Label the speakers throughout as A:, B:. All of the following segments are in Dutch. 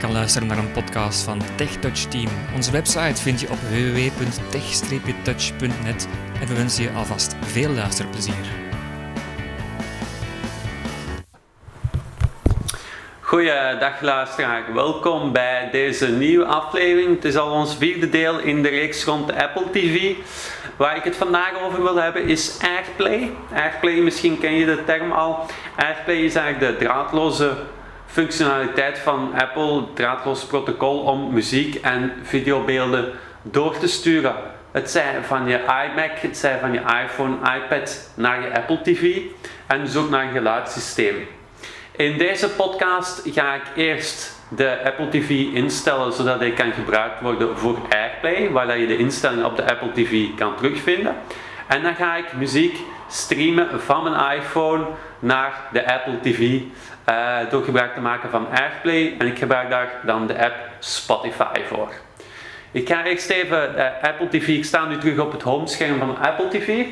A: kan luisteren naar een podcast van TechTouch Team. Onze website vind je op www.tech-touch.net en we wensen je alvast veel luisterplezier.
B: Goeiedag luisteraar, welkom bij deze nieuwe aflevering. Het is al ons vierde deel in de reeks rond de Apple TV. Waar ik het vandaag over wil hebben is AirPlay. AirPlay, misschien ken je de term al. AirPlay is eigenlijk de draadloze functionaliteit van Apple, draadloos protocol om muziek en videobeelden door te sturen. Het zij van je iMac, het zij van je iPhone, iPad naar je Apple TV en dus ook naar een geluidssysteem. In deze podcast ga ik eerst de Apple TV instellen zodat hij kan gebruikt worden voor AirPlay, waar dat je de instellingen op de Apple TV kan terugvinden. En dan ga ik muziek streamen van mijn iPhone naar de Apple TV eh, door gebruik te maken van AirPlay. En ik gebruik daar dan de app Spotify voor. Ik ga eerst even de Apple TV, ik sta nu terug op het homescherm van Apple TV.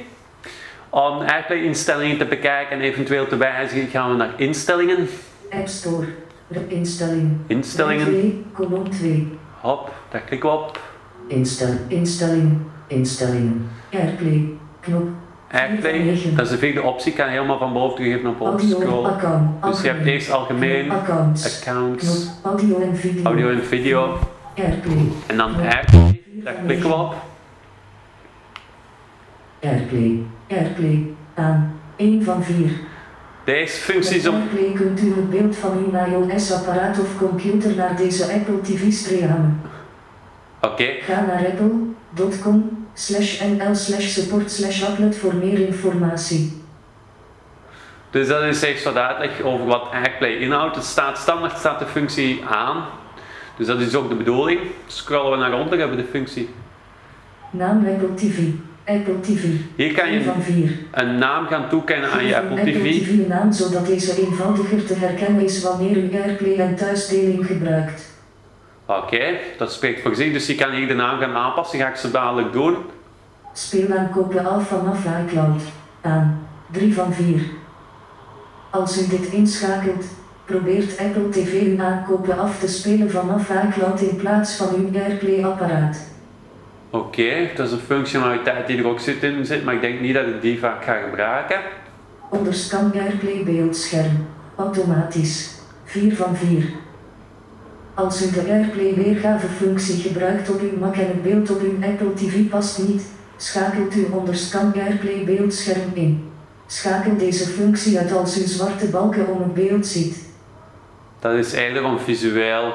B: Om AirPlay-instellingen te bekijken en eventueel te wijzigen gaan we naar instellingen.
C: App Store. De instelling.
B: Instellingen.
C: 2, kolom 2.
B: Hop, daar klikken we op.
C: Instel, instelling. Instelling. Airplay. Knop.
B: AirPlay, dat is de vierde optie, kan je helemaal van boven terug naar boven
C: Audio.
B: scrollen.
C: Account.
B: Dus je hebt eerst algemeen,
C: algemeen. Accounts.
B: accounts,
C: Knop. Audio en video.
B: audio en video.
C: Airplay.
B: En dan AirPlay, daar klikken we op.
C: Airplay. Airplay. Aan. 1 van 4.
B: Deze functies
C: Met
B: om...
C: Airplay kunt u het beeld van uw iOS-apparaat of computer naar deze Apple TV streamen.
B: Oké,
C: Ga naar apple.com slash nl slash support slash applet voor meer informatie.
B: dus dat is eerst wat uitleg over wat AirPlay inhoudt. Het staat standaard staat de functie aan. Dus dat is ook de bedoeling. Scrollen we naar onder, hebben we de functie.
C: Naam Apple TV. Apple TV.
B: Hier kan
C: Een
B: je
C: van vier.
B: een naam gaan toekennen aan je
C: Geef
B: Apple
C: een Apple
B: TV.
C: TV naam zodat deze eenvoudiger te herkennen is wanneer u Airplay en thuisdeling gebruikt.
B: Oké, dat spreekt voor zich. Dus je kan hier de naam gaan aanpassen. Ga ik zo dadelijk doen.
C: Speel en koppelen af vanaf iCloud. Aan. 3 van 4. Als u dit inschakelt, probeert Apple TV uw aankopen af te spelen vanaf iCloud in plaats van uw Airplay-apparaat.
B: Oké, dat is een functionaliteit die er ook zit in zit, maar ik denk niet dat ik die vaak ga gebruiken.
C: Onderscan Airplay beeldscherm. Automatisch. 4 van 4. Als u de Airplay weergavefunctie gebruikt op uw Mac en het beeld op uw Apple TV past niet, schakelt u onderscan Airplay beeldscherm in. Schakel deze functie uit als u zwarte balken om het beeld ziet.
B: Dat is eigenlijk om visueel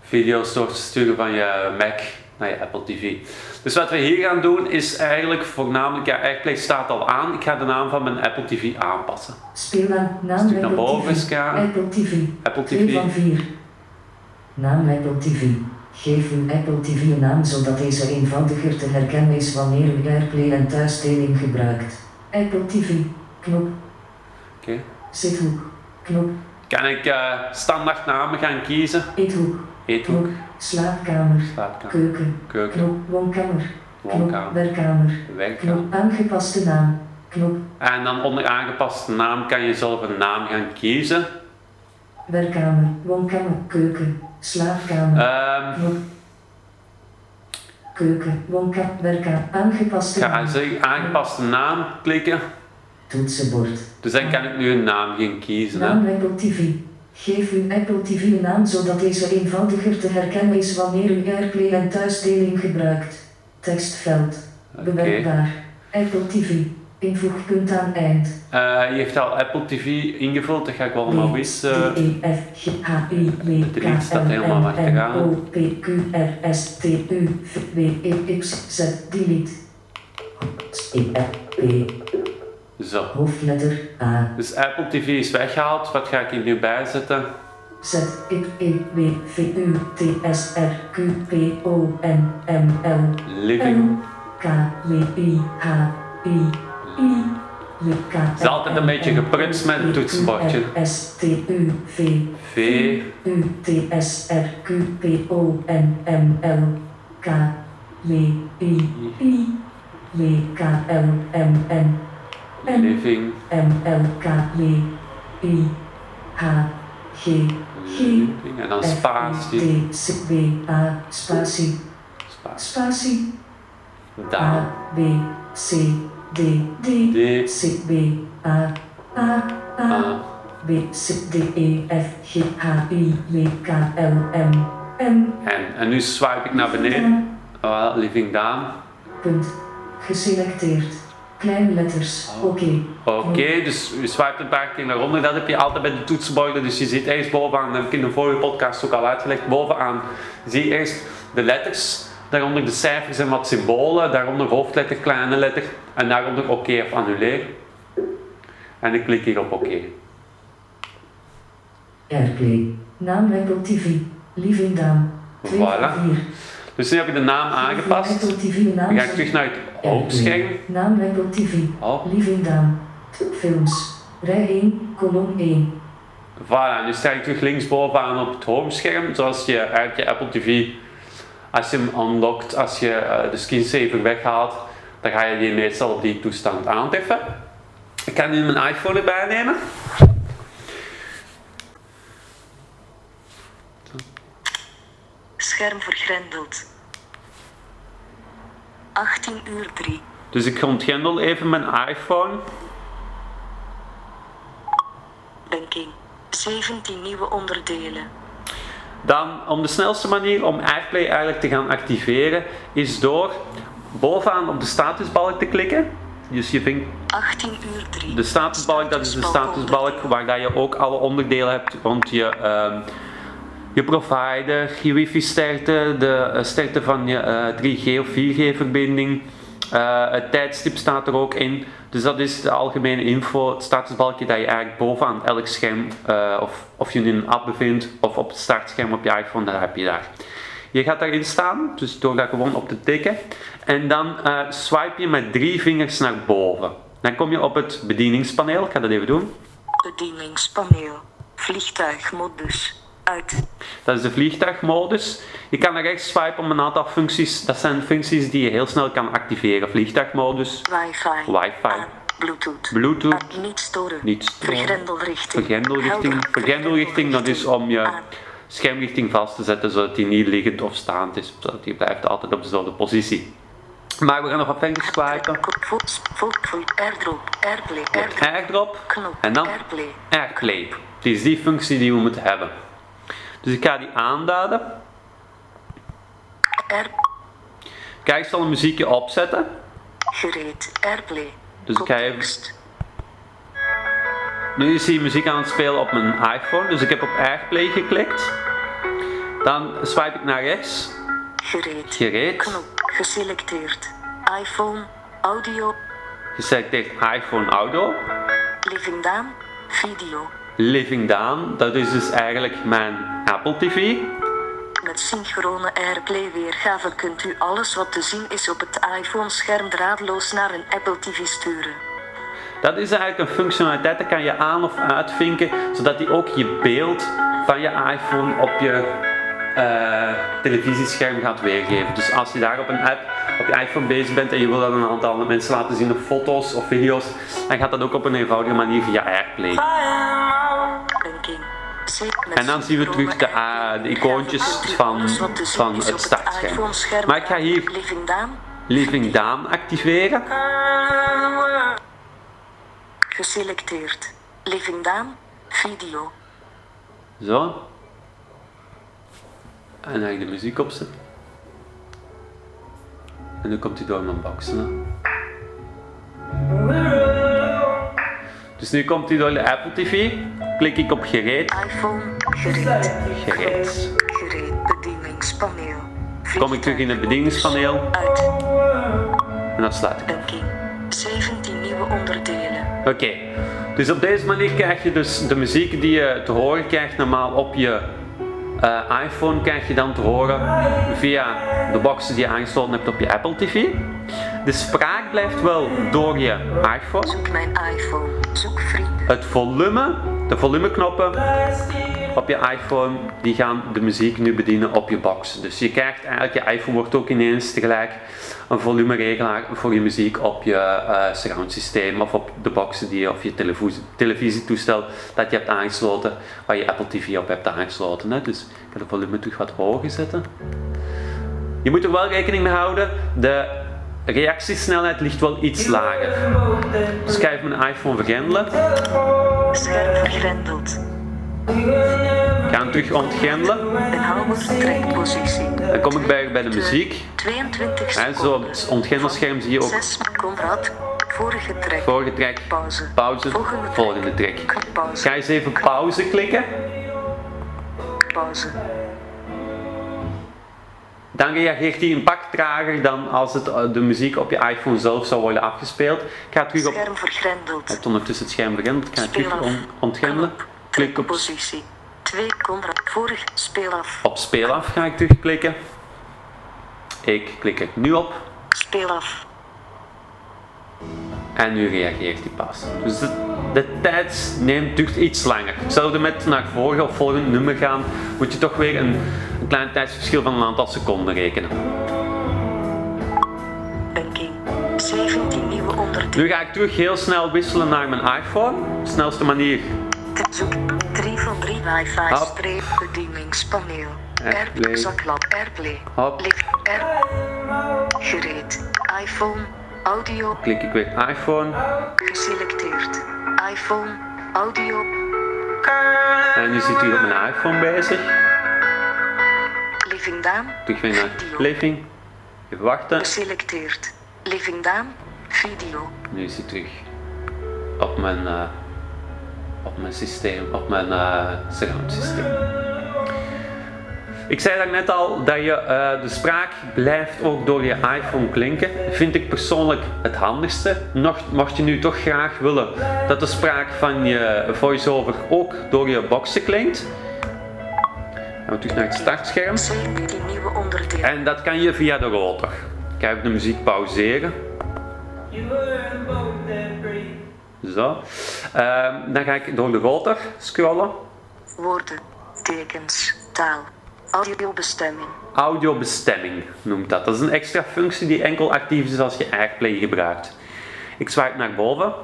B: video's door te sturen van je Mac naar je Apple TV. Dus wat we hier gaan doen is eigenlijk voornamelijk, ja AirPlay staat al aan, ik ga de naam van mijn Apple TV aanpassen.
C: Speel aan naam
B: Stuk naar
C: Apple
B: boven
C: TV.
B: scalen.
C: Apple TV.
B: Apple
C: 2
B: TV,
C: van 4. Naam Apple TV. Geef uw Apple TV een naam zodat deze eenvoudiger te herkennen is wanneer u Airplay en thuisdeling gebruikt. Apple TV. Knop.
B: Oké.
C: Zithoek. Knop.
B: kan ik eh, standaard namen gaan kiezen.
C: Eethoek.
B: Eethoek,
C: Knop. Slaapkamer.
B: slaapkamer,
C: Keuken.
B: keuken,
C: Knop. Woonkamer. Knop.
B: woonkamer,
C: Werkkamer.
B: werkkamer.
C: Knop. Aangepaste naam. Knop.
B: En dan onder aangepaste naam kan je zelf een naam gaan kiezen.
C: Werkkamer. Woonkamer. Keuken. Slaapkamer.
B: Ehm,
C: Knop. Keuken. Woonkamer. Werkkamer. Aangepaste
B: ga
C: naam.
B: ze aangepaste naam klikken.
C: Toetsenbord.
B: Dus dan kan ik nu een naam gaan kiezen. Hè.
C: Naam Apple TV. Geef uw Apple TV een naam zodat deze eenvoudiger te herkennen is wanneer u Airplay en thuisdeling gebruikt. Tekstveld.
B: Oké.
C: Bewerkbaar. Apple TV. Invoegpunt aan eind.
B: Eh, je heeft al Apple TV ingevuld, dat ga ik wel eh, allemaal wissen.
C: D, E, F, G, H, I, W,
B: de
C: K,
B: link staat
C: L,
B: helemaal
C: M,
B: achteraan.
C: N, O, P, Q, R, S, T, U, V, W, E, X, Z, delete. S, E, F, P,
B: Zo.
C: hoofdletter, A.
B: Dus Apple TV is weggehaald. Wat ga ik hier nu bijzetten?
C: Z, I, E, W, V, U, T, S, R, Q, P, O, N, M, L,
B: Living.
C: N, K, W, I, H, I, I, W, K,
B: is altijd een beetje geprutst met het toetsenbordje. E.
C: S, T, U, V,
B: V.
C: U, T, S, R, Q, P, O, N, M, L, K, W, I, I, W, K, L, M, N,
B: Living.
C: M, L, K, W, I, H, G, G,
B: En dan
C: F,
B: spatie.
C: I, T, C, B, A, spatie,
B: Spatie.
C: spatie,
B: Daar.
C: A, B, C, D, D,
B: Ah. D. Ah.
C: C, B, A, A, A,
B: A.
C: B, C, D, E, F, G, H, I, W, K, L, M, M,
B: En, en nu swipe ik naar beneden.
C: N,
B: Ah, living down.
C: Punt. Geselecteerd. Kleine letters. Oké.
B: Ah. Oké, dus je swipe een paar keer naar onder. Dat heb je altijd bij de toetsenborden. Dus je ziet eerst bovenaan, dat heb ik in de vorige podcast ook al uitgelegd. Bovenaan zie je eerst de letters. Daaronder de cijfers en wat symbolen. Daaronder hoofdletter, kleine letter. En daaronder oké of annuleer. En ik klik hier op oké.
C: Airplay. Naam Apple TV. Living Down. 2
B: Voilà. Dus nu heb je de naam aangepast.
C: Apple TV naam.
B: Dan ga ik terug naar het homescherm.
C: Airplay. Naam Apple TV.
B: Oh,
C: Living Down. T- Films. Rij 1, kolom 1.
B: Voilà, nu sta je terug linksbovenaan op het homescherm. Zoals je uit je Apple TV, als je hem unlockt, als je eh, de screensaver weghaalt, dan ga je die meestal op die toestand aantreffen. Ik kan nu mijn iPhone erbij nemen.
D: Scherm vergrendeld. 18 uur 3.
B: Dus ik ontgrendel even mijn iPhone.
D: Banking. 17 nieuwe onderdelen.
B: Dan, om de snelste manier om AirPlay eigenlijk te gaan activeren, is door bovenaan op de statusbalk te klikken. Dus je vindt
D: 18 uur 3.
B: De statusbalk, dat is de statusbalk waar dat je ook alle onderdelen hebt rond je, ehm, je provider, je wifi-sterkte, de eh, sterkte van je eh, 3G of 4G-verbinding. Eh, het tijdstip staat er ook in. Dus dat is de algemene info, het statusbalkje dat je eigenlijk bovenaan elk scherm, eh, of, of je nu in een app bevindt, of op het startscherm op je iPhone, dat heb je daar. Je gaat daarin staan, dus door daar gewoon op te tikken. En dan eh, swipe je met drie vingers naar boven. Dan kom je op het bedieningspaneel. Ik ga dat even doen.
D: Bedieningspaneel. Vliegtuigmodus. Uit.
B: Dat is de vliegtuigmodus. Je kan naar rechts swipen om een aantal functies. Dat zijn functies die je heel snel kan activeren. Vliegtuigmodus,
D: Wifi.
B: Wifi.
D: Aan. Bluetooth.
B: Bluetooth,
D: Aan. Niet storen.
B: Niet storen.
D: Vergrendelrichting.
B: vergrendelrichting.
D: Helder.
B: Vergrendelrichting, dat is om je
D: Aan.
B: schermrichting vast te zetten, zodat die niet liggend of staand is. Zodat die blijft altijd op dezelfde positie. Maar we gaan nog wat verder swipen.
D: Voet, voet, voet, airdrop, airplay, airdrop,
B: Airdrop.
D: knop,
B: En dan
D: airplay,
B: Airplay. Het is die functie die we moeten hebben. Dus ik ga die aanduiden.
D: air,
B: Kijk, ik zal een muziekje opzetten.
D: gereed, airplay.
B: Dus ik ga even-
D: Context.
B: Nu is die muziek aan het spelen op mijn iPhone, dus ik heb op Airplay geklikt. Dan swipe ik naar rechts,
D: Gereed.
B: gereed,
D: Knop geselecteerd. iPhone, audio,
B: geselecteerd iPhone Audio,
D: living down, video.
B: Living Down, dat is dus eigenlijk mijn Apple TV.
D: Met synchrone Airplay weergave kunt u alles wat te zien is op het iPhone-scherm draadloos naar een Apple TV sturen.
B: Dat is eigenlijk een functionaliteit, dat kan je aan of uitvinken, zodat die ook je beeld van je iPhone op je eh, televisiescherm gaat weergeven. Dus als je daar op een app, op je iPhone bezig bent en je wil dat aan een aantal mensen laten zien op foto's of video's, dan gaat dat ook op een eenvoudige manier via Airplay.
D: Banking. Zet met
B: En dan zien we terug de,
D: synchrone
B: ah, de icoontjes
D: Airplay weergave
B: van-
D: kunt u alles wat te zien
B: van
D: is
B: het
D: op
B: startscherm.
D: iPhone-scherm
B: Maar ik ga hier-
D: Living down,
B: Living Daan activeren.
D: geselecteerd. Living down, video.
B: Zo. En dan ga ik de muziek opzetten. En nu komt hij door mijn boxen. hè. Dus nu komt hij door de Apple TV. Klik ik op gereed.
D: iPhone, gereed.
B: Gereed.
D: Gereed bedieningspaneel.
B: Kom ik terug in het bedieningspaneel
D: Uit,
B: en dan sluit ik.
D: banking. 17 nieuwe onderdelen.
B: Oké, dus op deze manier krijg je dus de muziek die je te horen krijgt normaal op je eh, iPhone krijg je dan te horen via de boxen die je aangesloten hebt op je Apple TV. De spraak blijft wel door je iPhone.
D: Zoek mijn iPhone. Zoek vrienden.
B: Het volume, de volumeknoppen op je iPhone, die gaan de muziek nu bedienen op je box. Dus je krijgt eigenlijk, je iPhone wordt ook ineens tegelijk een volumeregelaar voor je muziek op je eh surround systeem of op de boxen die je of je televisie, televisietoestel dat je hebt aangesloten, waar je Apple TV op hebt aangesloten. Hè. Dus ik ga de volume terug wat hoger zetten. Je moet er wel rekening mee houden, de reactiesnelheid ligt wel iets lager. Dus ik ga even mijn iPhone vergrendelen.
D: Scherm vergrendeld.
B: Ik ga hem terug ontgrendelen.
D: Een halve trekpositie.
B: Dan kom ik bij, bij de muziek.
D: 22
B: Hè,
D: seconden.
B: zo op het ontgrendelscherm zie je ook
D: 6 Conrad. Vorige trek.
B: vorige track,
D: Pauze.
B: pauze,
D: Volgende
B: volgende track. Ik
D: Pauze.
B: ga eens even pauze klikken.
D: Pauze.
B: Dan reageert hij een pak trager dan als het, eh, de muziek op je iPhone zelf zou worden afgespeeld. Ik ga terug op...
D: Scherm
B: Ik
D: vergrendeld.
B: heb ondertussen het scherm vergrendeld. Ik ga het terug
D: Speel
B: on-
D: af.
B: ontgrendelen.
D: Knop.
B: Klik op,
D: Trekpositie. 2 Conrad. Vorig speel af.
B: op speel af ga ik terugklikken. Ik klik er nu op.
D: Speel af.
B: En nu reageert hij pas. Dus de, de tijd neemt, duurt iets langer. Hetzelfde met naar voren of volgend nummer gaan, moet je toch weer een, een klein tijdsverschil van een aantal seconden rekenen.
D: Banking. 17 nieuwe onderdelen.
B: Nu ga ik terug heel snel wisselen naar mijn iPhone. Snelste manier.
D: Zoek 3 van 3 wifi
B: Hop.
D: streep bedieningspaneel.
B: Airplay.
D: Airplay. Zaklap Airplay.
B: Hop.
D: Licht Air. Gereed. iPhone. Audio.
B: Klik ik weer iPhone.
D: Geselecteerd. iPhone. Audio.
B: En nu zit u op mijn iPhone bezig.
D: Living Down.
B: Terug weer naar
D: Video.
B: Living. Even wachten.
D: Geselecteerd. Living Down. Video.
B: Nu is hij terug op mijn, eh, op mijn systeem, op mijn eh surround systeem. Ik zei daarnet al dat je eh, de spraak blijft ook door je iPhone klinken. Vind ik persoonlijk het handigste. Nog- mocht je nu toch graag willen dat de spraak van je voiceover ook door je boxen klinkt. Gaan we terug naar het startscherm.
D: 17 nieuwe onderdelen.
B: En dat kan je via de rotor. Ik ga even de muziek pauzeren. Zo. Ehm, dan ga ik door de rotor scrollen.
D: Woorden. Tekens. Taal. Audiobestemming.
B: Audiobestemming noemt dat. Dat is een extra functie die enkel actief is als je Airplay gebruikt. Ik swipe naar boven.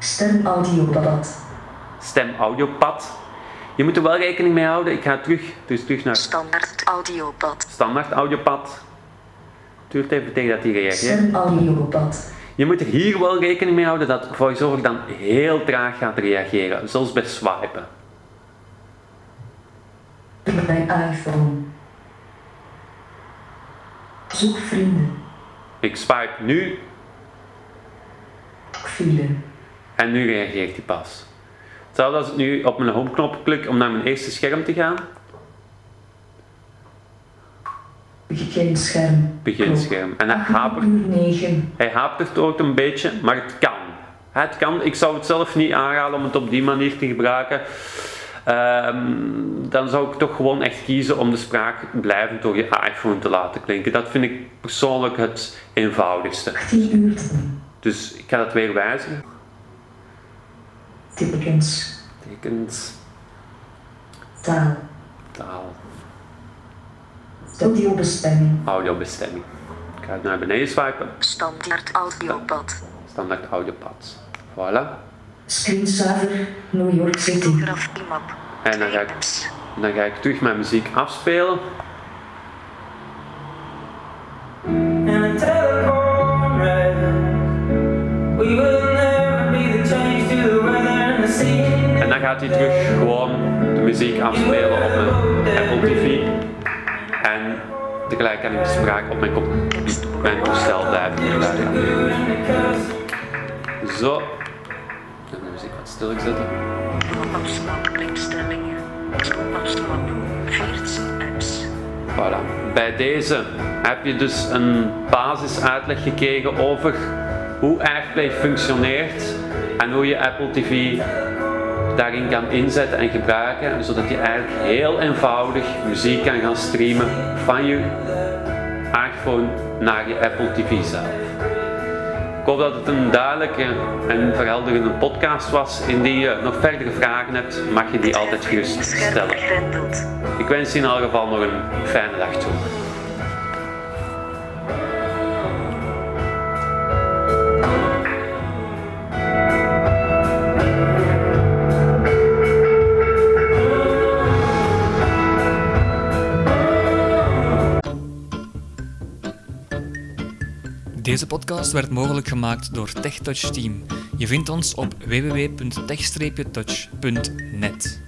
C: Stem audiobevat.
B: Stem audiopad. Je moet er wel rekening mee houden. Ik ga terug, dus terug naar
D: Standaard audiopad.
B: standaard audiopad. Het duurt even tegen dat hij reageert.
C: Stem audiobevat.
B: Je moet er hier wel rekening mee houden dat VoiceOver dan heel traag gaat reageren. Zoals bij swipen.
C: Mijn iPhone. Zoek vrienden.
B: Ik swipe nu
C: File.
B: En nu reageert hij pas. Hetzelfde als ik nu op mijn homeknop klik om naar mijn eerste scherm te gaan.
C: Begin scherm.
B: Beginscherm. En hij hapert,
C: Uur 9.
B: hij hapert ook een beetje, maar het kan. Het kan. Ik zou het zelf niet aanraden om het op die manier te gebruiken. Ehm, dan zou ik toch gewoon echt kiezen om de spraak blijvend door je iPhone te laten klinken. Dat vind ik persoonlijk het eenvoudigste.
C: 10 uur.
B: Dus ik ga dat weer wijzigen.
C: Tekens.
B: Tekens,
C: Taal.
B: taal,
C: Audiobestemming.
B: audiobestemming. Ik ga het naar beneden swipen.
D: Standaard audiopad.
B: Standaard audiopad. Voilà.
C: Screensaver. New York City.
D: Graf IMAP.
B: En dan ga ik- Dan ga ik terug mijn muziek afspelen.
E: And I tell the comrades, we will never be the change to the weather and the scene.
B: En dan gaat hij terug gewoon de muziek afspelen op mijn Apple TV. En tegelijk kan ik de spraak op mijn, kop, mijn toestel blijven gebruiken. Zo. Dan de muziek wat stil zetten.
D: Opsnap instellingen. Opsnap 14 apps.
B: Voilà. Bij deze heb je dus een basisuitleg gekregen over hoe AirPlay functioneert en hoe je Apple TV daarin kan inzetten en gebruiken, zodat je eigenlijk heel eenvoudig muziek kan gaan streamen van je iPhone naar je Apple TV zelf. Ik hoop dat het een duidelijke en verhelderende podcast was. Indien je nog verdere vragen hebt, mag je die altijd gerust
D: Scherm
B: stellen.
D: begrendeld.
B: Ik wens je in elk geval nog een fijne dag toe.
A: Deze podcast werd mogelijk gemaakt door TechTouch Team. Je vindt ons op www.tech-touch.net.